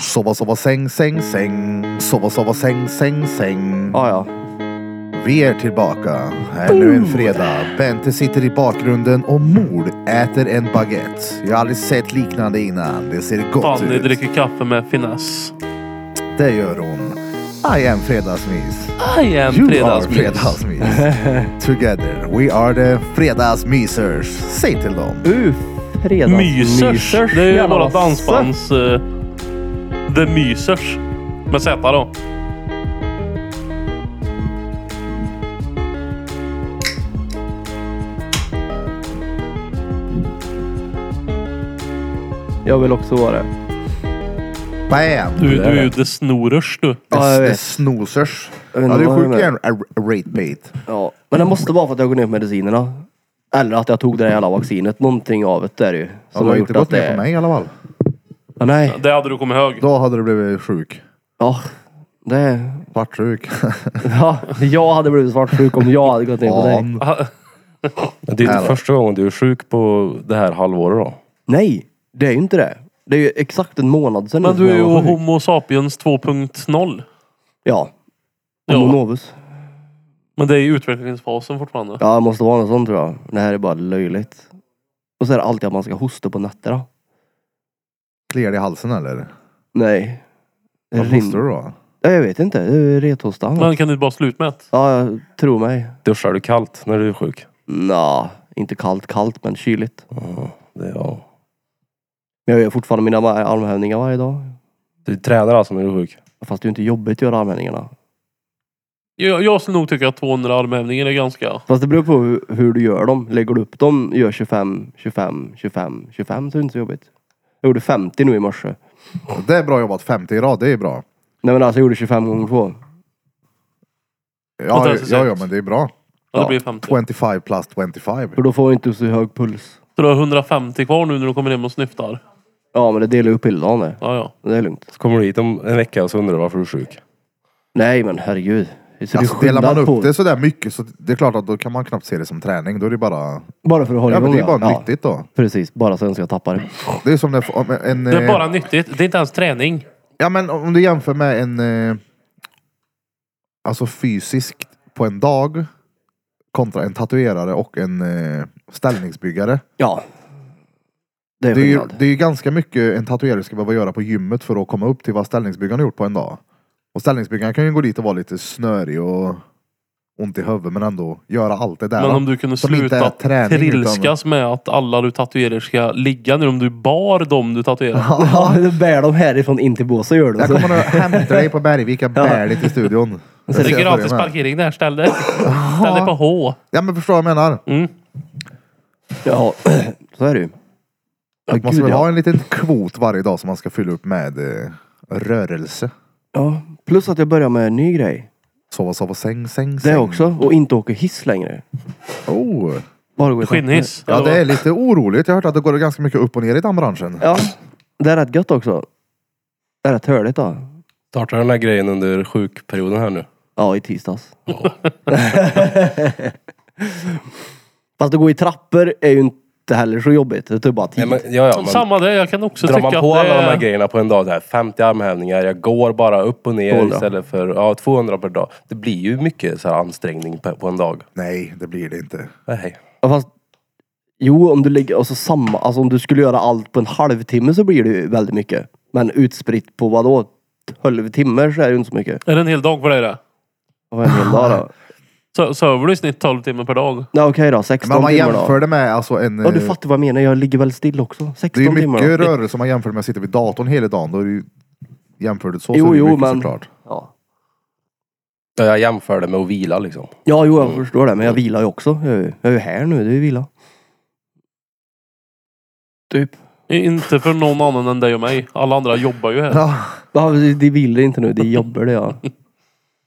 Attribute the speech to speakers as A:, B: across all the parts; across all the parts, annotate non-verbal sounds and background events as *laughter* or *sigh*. A: Sova, sova, säng, säng, säng. Sova, sova, säng, säng, säng.
B: Ja, ja.
A: Vi är tillbaka. Ännu en fredag. Bente sitter i bakgrunden och mord äter en baguette. Jag har aldrig sett liknande innan. Det ser gott
C: Fanny
A: ut.
C: dricker kaffe med finess.
A: Det gör hon. I am fredagsmys.
C: I am
A: You
C: fredagsmys.
A: are fredagsmys.
B: *laughs*
A: Together we are the fredagsmysers. Säg till dem.
B: Uh,
C: Mysers.
B: fredagsmysers.
C: Det är ju
B: Jävla
C: våra
B: massa.
C: dansbands... eh, the Mysers. Med Z då.
B: Jag vill också vara det.
A: Bam!
C: Du,
B: Det är
C: du är ju
B: det.
C: the Snorers du.
B: Ja, jag
A: Det är
B: vet.
A: snosers. Ja,
B: Jag vet
A: det
B: inte
A: är
B: vad
A: sjukt
B: det är.
A: gärna rate bait.
B: Ja. Men det måste vara för att jag går ner på medicinerna. Eller att jag tog det där jävla vaccinet. Någonting av det är det ju.
A: Ja, det har inte gått ner på mig i alla fall.
B: Ja, nej.
C: Det hade du kommit ihåg.
A: Då hade du blivit sjuk.
B: Ja. Det... *laughs*
A: Svartsjuk.
B: Ja, jag hade blivit svartsjuk om jag hade gått ner på dig.
A: An.
D: Men Det är
A: Eller?
D: inte första gången du är sjuk på det här halvåret då.
B: Nej, det är ju inte det. Det är ju exakt en månad sedan.
C: Men
B: som
C: du är
B: jag
C: ju
B: var sjuk.
C: Homo sapiens 2.0.
B: Ja.
C: Ja.
B: Homo novus.
C: Men det är i utvecklingsfasen fortfarande.
B: Ja, det måste vara något sånt tror jag. Det här är bara löjligt. Och så är det alltid att man ska hosta på nätterna.
A: Kliar i halsen eller?
B: Nej. Det
A: Vad
B: rin-
A: hostar du då?
B: Ja, Jag vet inte. Det är rethosta. han.
C: Men kan du bara sluta med det?
B: Ja, jag tror mig.
D: Duschar du kallt när du är sjuk?
B: Nja, inte kallt kallt men kyligt.
D: Ja, det, ja.
B: Men jag gör fortfarande mina ma- armhävningar varje dag.
D: Du tränar alltså när du är sjuk?
B: Fast det är ju inte jobbigt att göra armhävningarna.
C: Jag, jag skulle nog tycka att 200 armhävningar är ganska...
B: Fast det beror på hur, hur du gör dem. Lägger du upp dem, gör 25, 25, 25, 25 så är det inte så jobbigt. Jag gjorde 50 nu i morse.
A: Det är bra jobbat. 50 i rad, det är bra.
B: Nej men alltså jag gjorde 25 gånger 2.
A: Ja,
C: det är
A: ja,
C: så
A: ja,
C: sent.
A: men det är bra.
C: Ja. Det
B: Ja.
C: blir 50.
A: 25 plus 25.
B: För då får jag inte så hög puls.
C: Så du har 150 kvar nu när du kommer hem och snyftar?
B: Ja men det delar ju upp hela dagen det.
C: Ja, ja.
B: Det är lugnt.
D: Så kommer du hit om en vecka och så undrar du varför du är sjuk.
B: Nej men herregud. Det är så
A: Alltså,
B: det är
A: delar man
B: skillnad på-
A: upp det sådär mycket så det är klart att då kan man knappt se det som träning. Då är det bara,
B: Bara för att hålla
A: ja, men
B: igång
A: det är bara
B: ja.
A: nyttigt då.
B: Precis, bara sen ska jag tappa det.
A: Det är som när, om en,
C: Det är
A: eh,
C: bara nyttigt. Det är inte ens träning.
A: Ja men om du jämför med en eh, Alltså fysiskt på en dag kontra en tatuerare och en eh, ställningsbyggare.
B: Ja. Det är
A: Det är, ju,
B: skillnad.
A: det är ju ganska mycket en tatuerare ska behöva göra på gymmet för att komma upp till vad ställningsbyggaren har gjort på en dag. Och ställningsbyggaren kan ju gå dit och vara lite snörig och ont i huvudet men ändå göra allt det där.
C: Men
A: va?
C: om du kunde
A: Som inte är
C: sluta
A: träning,
C: trilskas med att alla du tatuerar ska ligga nu om du bar dem du tatuerar.
B: Ja, *laughs* du bär dem härifrån in till båset gör du.
A: Jag
B: Så.
A: kommer att hämta dig på Bergvik, jag bär dig till studion.
C: Det
A: Jag
C: är gratis
A: börjar med.
C: parkering där. Ställ dig. Ställ dig på H.
A: Ja men förstår vad jag menar.
C: Mm.
B: Ja, *clears throat* så är det ju. Ja,
A: Man ska
B: gud,
A: väl
B: ja.
A: ha en liten kvot varje dag som man ska fylla upp med eh, rörelse.
B: ja. Plus att jag börjar med en ny grej.
A: Sova, sova, säng, säng,
B: Det
A: säng.
B: också. Och inte åka hiss längre.
A: Oh.
B: Bara gå i
C: Skinnhiss.
A: Ja, det är lite oroligt. Jag har hört att det går ganska mycket upp och ner i den branschen.
B: Ja. Det är rätt gött också. Det är rätt hörligt då.
D: Startar den här grejen under sjukperioden här nu?
B: Ja, i tisdags. *laughs* Fast att gå i trappor är ju inte heller så jobbigt. Det tar bara tid.
D: Ja, men, ja, ja, men
C: Samma det. Jag kan också
D: drar
C: tycka
D: man
C: att
D: på
C: det
D: alla de här
C: är...
D: grejerna på en dag, det här 50 armhävningar, jag går bara upp och ner
B: 200.
D: istället för ja, 200 per dag. Det blir ju mycket så här ansträngning på, på en dag.
A: Nej, det blir det inte.
D: Nej.
B: Ja, Fast, jo, om du lägger, alltså samma, alltså om du skulle göra allt på en halvtimme så blir det ju väldigt mycket. Men utspritt på vadå? 12 timmar så är det ju inte så mycket.
C: Är det en hel dag för dig det?
B: Det var en hel
A: *laughs*
B: dag då.
C: Så- Sover du i snitt 12 timmar per dag?
B: Ja, okej då, 16
A: Men om man
B: timmar då.
A: jämför det med alltså en...
B: Ja, du
A: eh,
B: fattar vad jag menar. Jag ligger väl still också.
A: det
B: 16
A: är ju
B: timmar
A: mycket
B: då.
A: rörelse om man jämför med att sitta vid datorn hela dagen. Då är det ju... Jämför det så, så
B: Jo,
A: är det
B: jo,
A: mycket
B: men-
A: såklart.
B: Ja.
D: Ja, Jag jämför det med att vila liksom.
B: ja, jo, jag förstår det. Men jag vilar ju också. Jag är ju, jag är ju här nu. Det är ju vila. Typ.
C: Inte för någon annan än dig och mig. Alla andra jobbar ju här.
A: Ja.
B: Ja, de vilar inte nu. De jobbar det ja.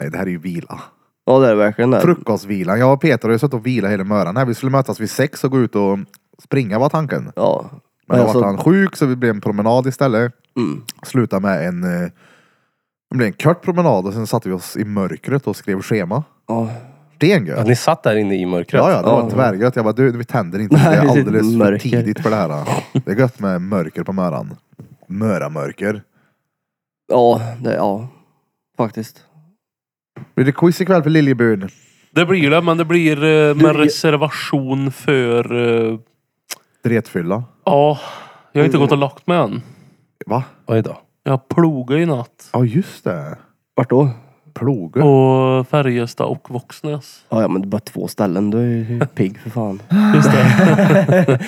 A: Nej, det här är ju vila.
B: Ja, det är det verkligen det.
A: Frukostvilan. Jag och Peter har ju suttit och vilat hela morgonen här. Vi skulle mötas vid sex och gå ut och springa var tanken.
B: Ja.
A: Men då
B: Alltså-
A: vart han sjuk så vi blev en promenad istället.
B: Mm.
A: Sluta med en, eh, det blev en kort promenad och sen satte vi oss i mörkret och skrev schema.
B: Ja.
D: Ja,
A: Stengött.
D: ni satt där inne i mörkret?
A: Ja, ja, det var
B: Ja.
A: tvärgött. Jag bara, du, vi tänder inte.
B: Nej,
A: det
B: vi
A: är
B: sitter
A: alldeles för
B: mörker.
A: tidigt för det här. Det är gött med mörker på Möran. Möramörker.
B: Ja, det, ja. Faktiskt.
A: Blir det quiz ikväll för Liljebyn?
C: Det blir det, men det blir eh,
B: Du,
C: med
B: jag-
C: reservation för... eh,
A: Dretfylla.
C: Ja, jag har inte gått och lagt mig än.
A: Va?
D: Oj då. *clears throat*
C: Jag plogade i natt.
A: Ja just det.
B: Vart då?
A: Ploge.
C: På Färjestad och Våxnäs.
B: Ja, ja men det är bara två ställen. Du är
C: *laughs*
B: ju pigg för fan.
C: Just det.
B: *laughs*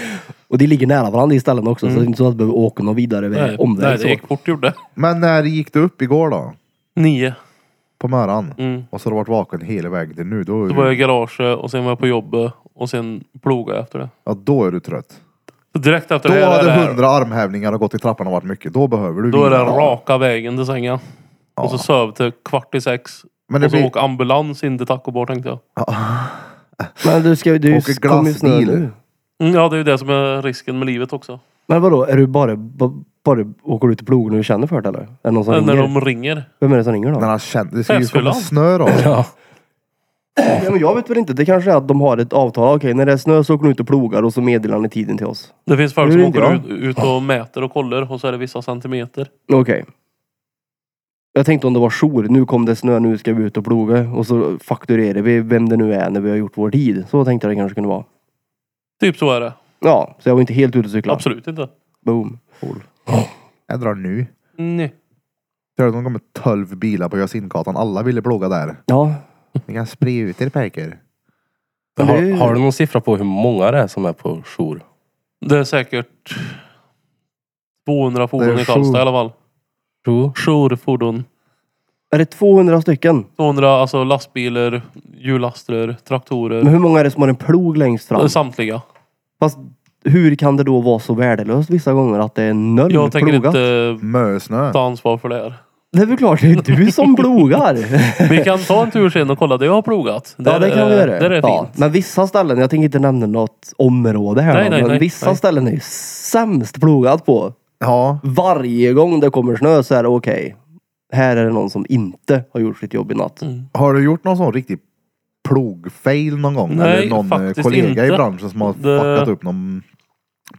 C: Mm.
B: Och de ligger nära varandra i ställen också. Så det är inte så att du behöver åka någon vidare
C: Nej,
B: väg-
C: nej
B: omväg.
C: det
B: så.
C: gick fort gjorde det.
A: Men när gick du upp igår då?
C: Nio.
A: På morgonen?
C: Mm.
A: Och så har du varit vaken hela vägen till nu. Då är
C: Då var jag
A: du,
C: i garaget och sen var jag på jobbet och sen plogade jag efter det.
A: ja, då är du trött.
C: Så direkt efter
A: Då
C: det här är
A: hade
C: det här.
A: hundra armhävningar och gått i trappan och varit mycket. Då behöver du
C: Då är det
A: vila.
C: raka vägen till sängen. Och så söv till kvart i sex.
A: Men det
C: och så
A: blir-
C: åka ambulans in till taco bar tänkte jag.
B: Men du ska ju... Du
A: Åker
B: kommer ju snö
A: glassbil.
B: nu.
C: Mm, ja det är ju det som är risken med livet också.
B: Men vadå? Är du bara... ba- Bara åker du ut och plogar när du känner för det eller? Är det någon som
C: Äh, När
B: ringer?
C: de ringer.
B: Vem är det som ringer då?
A: Men han kände, det ska ju komma
C: Chefsfyllan.
A: snö då.
D: Ja.
B: Ja, men jag vet väl inte. Det kanske är att de har ett avtal. Okej, när det är snö så åker ni ut och plogar och så meddelar ni tiden till oss.
C: Det finns
B: Nu
C: folk som
B: ringer
C: åker ut,
B: de.
C: ut och mäter och kollar och så är det vissa centimeter.
B: Okej. Jag tänkte om det var jour. Nu kom det snö, nu ska vi ut och ploga. Och så fakturerar vi vem det nu är när vi har gjort vår tid. Så tänkte jag det kanske kunde vara.
C: Typ så är det.
B: Ja, så jag var inte helt ute och cyklade.
C: Absolut inte.
B: Boom.
A: Jag drar nu.
C: Nej.
A: Hörde de kommer 12 bilar på Jasinkatan. Alla ville plåga där.
B: Ja.
A: Ni kan sprida ut er pojkar.
D: Har, har du någon siffra på hur många det är som är på jour?
C: Det är säkert 200
A: Det
C: fordon
A: är
C: i Karlstad
A: sju.
C: i alla fall.
D: Jour?
C: Jourfordon.
B: Är det 200 stycken?
C: 200 alltså lastbilar, hjullastrar, traktorer.
B: Men hur många är det som har en plog längst fram?
C: Samtliga.
B: Fast hur kan det då vara så värdelöst vissa gånger att det är noll
C: Jag tänker
B: plogat?
C: inte
A: Mösnö.
C: ta ansvar för det här.
B: Det är väl klart det är du
C: *laughs*
B: som plogar.
C: Vi kan ta en tur sen och kolla det jag har plogat.
B: ja det kan vi göra.
C: Där är det
B: ja.
C: fint.
B: Men vissa ställen, jag tänker inte nämna något område här
C: Nej,
B: då,
C: nej,
B: men
C: nej,
B: vissa
C: nej.
B: ställen är ju sämst plogat på.
A: Ja.
B: Varje gång det kommer snö så är det okej. Här är det någon som inte har gjort sitt jobb i natt.
C: Mm.
A: Har du gjort någon sån riktig plogfail någon gång?
C: Nej,
A: eller någon eh,
C: faktiskt
A: kollega i
C: inte.
A: branschen som har
C: Det-
A: fuckat upp någon...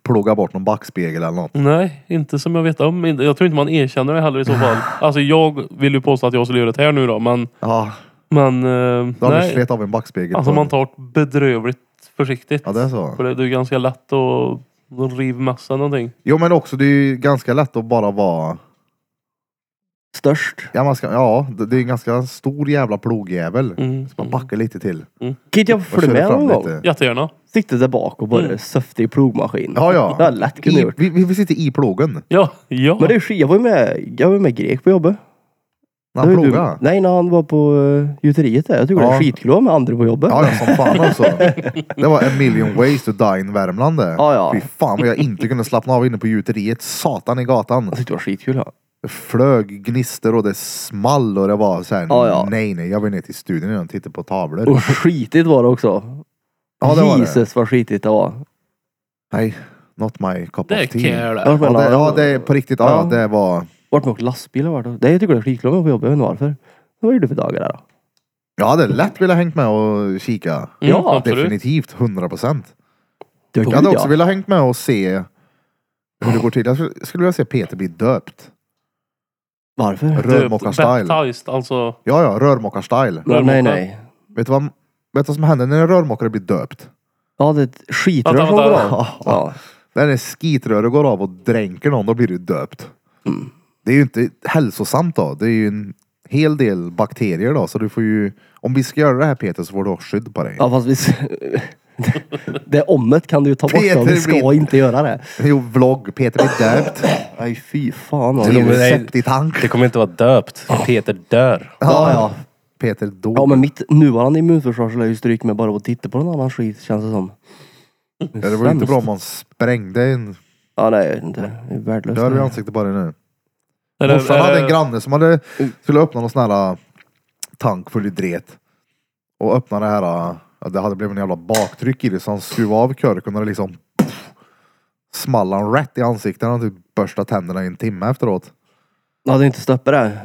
A: Plågat bort någon backspegel eller något.
C: Nej, inte som jag vet om. Inte- Jag tror inte man erkänner det heller i så
B: *laughs*
C: fall. Alltså jag vill ju påstå att jag skulle göra det här nu då, men...
A: Ja.
C: Men... eh,
A: Då har du
C: nej.
A: slet av en backspegel.
C: Alltså
A: på-
C: man tar det bedrövligt försiktigt.
A: Ja det är så.
C: För det det är ganska lätt att rivmassa någonting.
A: Jo men också det är ju ganska lätt att bara vara...
B: Störst.
A: Ja, man ska, ja det, det är en ganska stor jävla plogjävel.
C: Mm.
A: Så man backar lite till.
B: Kan jag
A: Och
B: följa
A: kör
B: med
A: fram
B: någon gång?
A: lite.
C: Jättegärna.
B: Siktet där bak och bara
C: Mm.
B: söfte i plogmaskin.
A: Ja ja.
B: Det har jag lätt kunnat
A: I,
B: gjort.
A: vi, vi vi sitter i plogen.
C: Ja, ja.
B: Men det är skit. jag var ju med, jag var ju med grek på jobbet.
A: När han
B: Det var ju
A: plogar.
B: du- Nej, när han var på uh, gjuteriet där. Jag tycker det
A: Ja.
B: är skitkul att vara med andra på jobbet.
A: Ja, ja, som fan
C: *laughs*
A: alltså. Det var en million ways to die in Värmland det.
B: Ja, ja.
A: Fy fan vad jag inte kunde slappna av inne på gjuteriet. Satan i gatan.
B: Jag tyckte det var skitkul. Ja.
A: Det flög gnister och det small och det var så här.
B: Ja, ja.
A: Nej, nej, jag vill ner till studion innan och titta på tavlor.
B: Och skitigt var det också.
A: Ja, det var det.
B: Jesus vad skitigt det var.
A: Nej, not my cup
C: Det är
A: of tea.
C: kul.
B: Jag
A: Ja det, ja, det är på riktigt. Ja,
B: Ja.
A: ja. det var...
B: Vart med åkt lastbil och vart. Nej, jag tycker det är skitkul att vara på jobbet. Jag vet inte varför. Vad gjorde du för dagar där då?
A: Jag hade lätt velat hängt med och kika.
C: Mm,
B: Ja,
C: absolut.
A: Definitivt, 100 procent.
B: Det
A: Jag hade också velat hängt med och se hur det går till. Jag skulle, skulle vilja se Peter bli döpt.
B: Varför?
A: Rörmokarstyle.
C: Baptized, alltså.
A: Ja, ja, rörmokarstyle.
B: Ja, nej,
C: Rörmokare.
B: nej.
A: Vet du vad, vet du vad som händer när en rörmokare blir döpt?
B: Ja, det är ett skitrör
C: Vänta,
B: som går
C: vänta.
B: av. Ja.
A: När en skitröre går av och dränker någon, då blir du döpt.
B: Mm.
A: Det är ju inte hälsosamt då. Det är ju en hel del bakterier då, så du får ju... Om vi ska göra det här Peter så får du ha skydd på dig.
B: ja, fast vi... *laughs* det ommet kan du ju ta bort då.
A: Peter
B: Vi ska
A: blir-
B: inte göra det.
A: Jo, vlogg. Peter blir döpt.
B: Nej, fy fan.
A: Det är
B: Alltså.
A: ju
D: nej.
A: septitank.
D: Det kommer inte vara döpt. Peter dör.
B: Ja, ja.
A: Peter dog.
B: Ja men mitt nuvarande immunförsvar skulle jag ju stryk med bara att titta på någon annan skit känns det som.
A: det var ju inte bra om man sprängde en
B: Ja nej, jag vet inte. Det är värdelöst.
A: dörr i ansiktet på dig nu.
C: Är det-
A: Morsan
C: är
A: hade
C: det-
A: en granne som hade, skulle öppna någon sån här äh, tank full i dret. Och öppna det här, äh, ja, det hade blivit en jävla baktryck i det så han skruvade av korken och det liksom small han rätt i ansiktet. Han typ borstade tänderna i en timme efteråt.
B: Jag hade inte
A: *laughs*
B: stoppat det.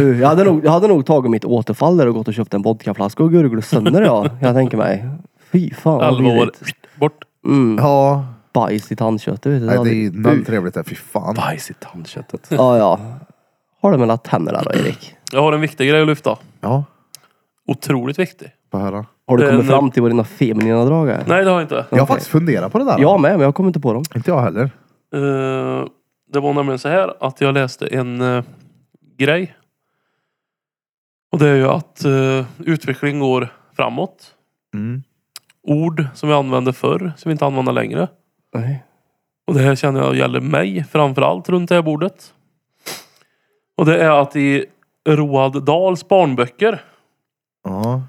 B: Uh, jag, hade nog, jag hade nog tagit mitt återfall där och gått och köpt en vodkaflaska och gurglat sönder ja. Jag tänker mig. Fy fan vad
C: Elva år.
B: vidrigt.
C: Bort.
B: Mm,
A: Ja,
B: bajs i tandköttet vet du.
A: nej, det är
B: hade-
A: ju noll trevligt där. Fy fan.
D: Bajs i tandköttet.
B: Ja ja. har det mellan tänderna då Erik?
C: Jag har en viktig grej att lyfta.
A: Ja,
C: Otroligt viktig.
A: på höra.
B: Har du
C: Eh,
B: kommit
C: nej.
B: fram till vad dina feminina drag är?
C: Nej, det har jag inte.
A: Jag har
B: Okej.
A: faktiskt funderat på det där.
B: Jag med, men jag kommer inte på dem.
A: Inte jag heller.
C: Eh, det var nämligen så här att jag läste en eh, grej. Och det är ju att eh, utveckling går framåt.
A: Mm.
C: Ord som vi använde förr, som vi inte använder längre.
B: Nej.
C: Och det här känner jag gäller mig framförallt runt det här bordet. Och det är att i Roald Dahls barnböcker
A: Ja.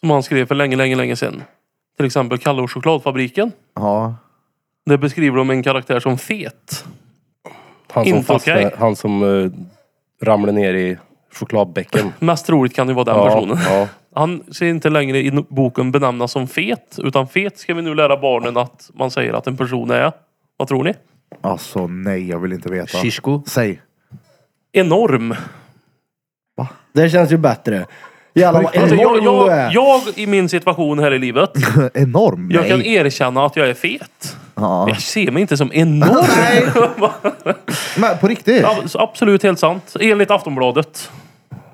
C: som han skrev för länge, länge, länge sedan. Till exempel Kalle och chokladfabriken.
A: Ja.
C: Där beskriver de en karaktär som fet.
D: Han som,
C: Inte
D: fastnade,
C: okej.
D: han som eh, ramlade ner i chokladbäcken.
C: Mest troligt kan det ju vara *laughs* den personen.
D: ja.
C: Han ser inte längre i boken benämnas som fet. Utan fet ska vi nu lära barnen att man säger att en person är. Vad tror ni?
A: Alltså nej, jag vill inte veta.
D: Shishko.
A: Säg. *laughs*
C: Enorm.
B: Det känns ju bättre. Jävlar vad
C: Alltså, jag,
B: enorm du
C: jag,
B: är.
C: jag i min situation här i livet.
A: Enorm.
C: Jag kan
A: Nej.
C: erkänna att jag är fet.
A: Ja.
C: Jag ser mig inte som
A: *laughs*
C: enorm.
A: Men på riktigt.
C: Ja, så Absolut helt sant. Enligt Aftonbladet.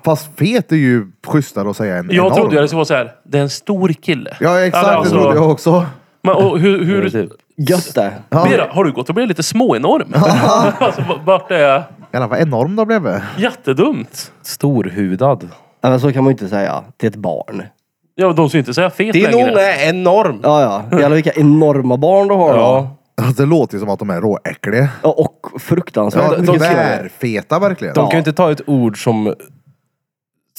A: Fast fet är ju schysstare att säga än
C: Jag
A: enorm.
C: trodde jag det skulle vara så här. Det är en stor kille.
A: Ja exakt,
C: Eller alltså-
A: det trodde jag också.
C: Men, och hur, hur,
D: Typ.
B: Gött det.
C: Mira, har du gått och blivit lite småenorm? *laughs* alltså, v- vart det är
A: Jävlar vad enorm det blev.
C: jättedumt.
D: Storhudad.
B: Ja, men så kan man ju inte säga till ett barn.
C: Ja, men de ska ju inte säga fet
D: Din
C: längre.
D: unge är enorm!
B: Ja, ja. Jävlar vilka enorma barn du har. då.
D: Ja.
A: Alltså, det låter ju som att de är råäckliga.
B: Ja, och fruktansvärt
A: Ja, de
B: mycket
A: är
B: större.
A: feta verkligen.
D: De kan ju inte ta ett ord som,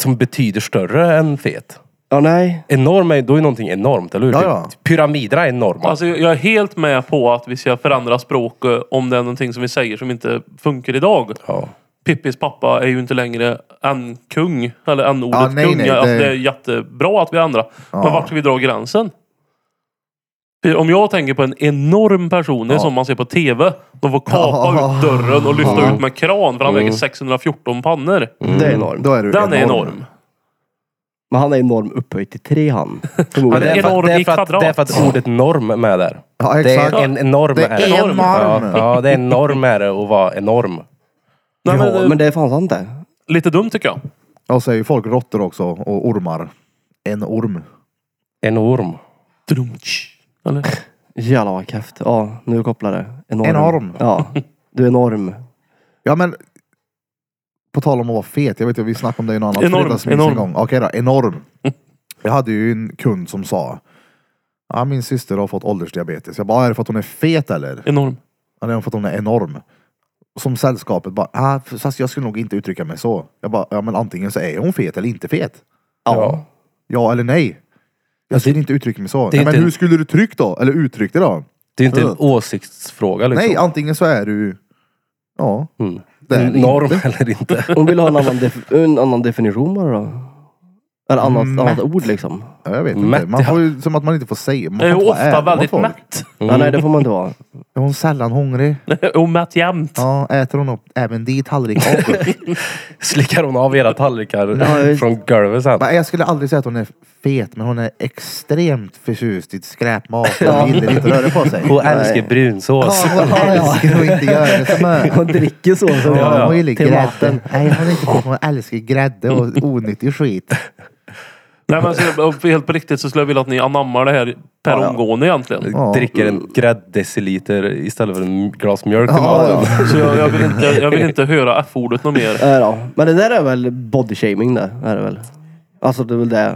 D: som betyder större än fet.
B: Ja, nej.
D: Enorm är, då är någonting enormt, eller hur?
A: Ja, ja.
D: Typ Pyramider är enorma.
C: Alltså, jag är helt med på att vi ska förändra språket om det är någonting som vi säger som inte funkar idag.
D: ja.
C: Pippis pappa är ju inte längre en kung eller en ordet
A: Ja, nej,
C: kung.
A: nej,
C: alltså, det...
A: det-
C: är jättebra att vi ändrar.
A: Ja.
C: Men vart ska vi dra gränsen? För Om jag tänker på en enorm person, det är som man ser på TV. De får kapa
A: Ja.
C: ut dörren och lyfta ut med kran för han väger 614 pannor.
B: Det är enormt.
A: Då är du
C: Den är enorm.
B: Men han är enorm upphöjd till tre han.
D: Men
B: Förmodligen.
D: det, är för,
C: enorm
D: det, är
C: i
D: för att, det är för att ordet norm är med där.
A: Ja
D: Det
A: exakt.
D: är en enorm.
A: Det är
D: det.
A: enorm.
D: Ja, ja, det är en norm är det att vara enorm.
C: Nej, men,
B: ja,
C: eh,
B: men det fanns han inte.
C: Lite dumt tycker jag.
A: Och så är ju folk råttor också och ormar. En orm.
D: En orm.
C: Eller?
B: Jävlar vad keft. Ja, nu kopplar det. Enorm.
A: Enorm.
B: Ja. Du är enorm.
A: Ja men. På tal om att vara fet. Jag vet ju, vi snackade om det i någon annan
C: Enorm,
A: fredagsmys
C: enorm.
A: en gång. Okej då, enorm. Jag hade ju en kund som sa. Ja, min syster har fått åldersdiabetes. Jag bara, är det för att hon är fet eller?
C: Enorm.
A: Ja, det är för att hon är enorm. Som sällskapet bara, ah, fast jag skulle nog inte uttrycka mig så. Jag bara, ja men antingen så är hon fet eller inte fet.
D: Ja.
A: Ja eller nej. Jag skulle inte uttrycka mig så.
D: det är
A: Nej, men
D: inte-
A: hur skulle du tryckt då? Eller uttryckt det då?
D: Det är inte en
A: Mm.
D: åsiktsfråga liksom.
A: Nej, antingen så är du... Ja.
D: Mm.
A: Det är det
D: norm *laughs* eller inte.
B: Hon vill ha en annan, def- en annan definition bara då. Eller annat,
A: Mm.
B: annat ord liksom.
A: Ja, jag vet
D: Mätt,
A: inte. Man
D: ja.
A: får ju, som att man inte får säga. Man
C: Jag är
A: får
C: ju
A: inte vara ärlig
C: Eh, ofta
A: mot
C: väldigt
A: folk.
C: mätt. *laughs*
D: Mm.
B: Ja, nej, det får man
A: *laughs*
B: inte vara.
A: Är hon sällan hungrig?
C: Och mätt jämt.
A: Ja, äter hon upp även din tallrik?
D: *laughs* *laughs* Slickar hon av era tallrikar
B: Ja, visst.
D: från golvet sen?
A: jag skulle aldrig säga att hon är fet, men hon är extremt förtjust i skräpmat.
B: Ja.
A: Hon gillar inte att röra på sig.
D: Hon
A: *laughs*
D: älskar brunsås.
A: Ja, hon älskar att inte göra det som är.
B: Hon dricker så som
A: Ja, Hon gillar
B: till
A: grädde.
B: maten.
A: Nej, hon, är inte, hon älskar grädde och onyttig skit.
C: Nej, men så, för helt på riktigt så skulle jag vilja att ni anammar det här per
B: Ja, ja.
C: omgående egentligen.
A: Ja.
D: Dricker en grädddeciliter istället för en glas mjölk till
A: Ja,
D: maten.
C: Så jag, jag, vill inte, jag vill inte höra F-ordet något mer.
B: Ja, då. Men det där är väl body shaming det. Är det väl. Alltså det är väl det.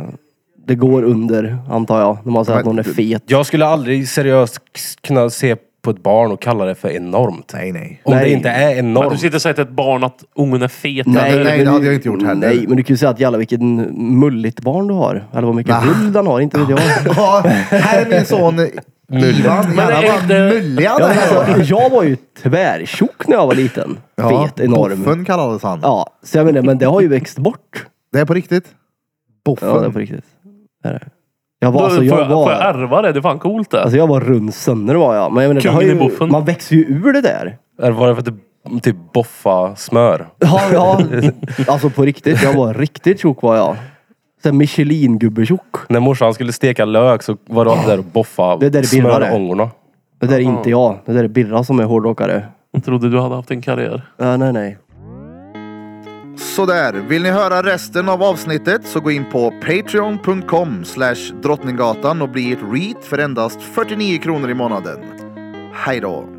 B: Det går under, antar jag, när man säger att
A: Men
B: någon är fet.
D: Jag skulle aldrig seriöst kunna se på ett barn och kalla det för enormt.
A: Nej, nej.
D: Om det
B: Nej.
D: inte är
C: Att du
D: enormt.
C: sitter och säger till ett barn att ungen är fet.
A: Nej,
C: eller-
A: nej, det hade jag inte gjort heller.
B: Nej, men du kan ju säga att jävlar vilket mulligt barn du har. Eller vad mycket
A: Va?
B: rull den har, inte
A: *laughs*
B: vet jag.
A: Ja, här är min son Ivan.
C: Men det är
A: Jävlar vad
C: inte-
A: mullig han
B: Ja,
A: är.
B: men alltså, jag var ju tvärtjock när jag var liten. fet, enorm.
A: Boffen kallades han.
B: Ja, så jag menar, men det har ju växt bort.
A: Det är på riktigt. Boffen.
B: Ja, det är på riktigt. Det är det. Jag var,
C: Då
B: alltså,
C: får,
B: jag
C: jag, får jag
B: var,
C: ärva det? Det är fan coolt det.
B: alltså, jag var rund sönder var jag. Men jag menar, det har
C: Kungen i
B: ju,
C: boffen.
B: man växer ju ur det där.
D: Eller var det för att det typ boffa smör?
B: Ja, *laughs* ja. Alltså på riktigt. Jag var riktigt tjock var jag. Sen Michelin-gubbe-tjock.
D: När morsan skulle steka lök så var det alltid där och boffa
B: Det är där det birrar det.
D: smörångorna.
B: Det där är inte jag. Det där är Birra som är hårdrockare.
C: Jag trodde du hade haft en karriär.
B: Ja, nej, nej.
A: Sådär, vill ni höra resten av avsnittet så gå in på patreon.com slash drottninggatan och bli ett read för endast 49 kronor i månaden. Hej då!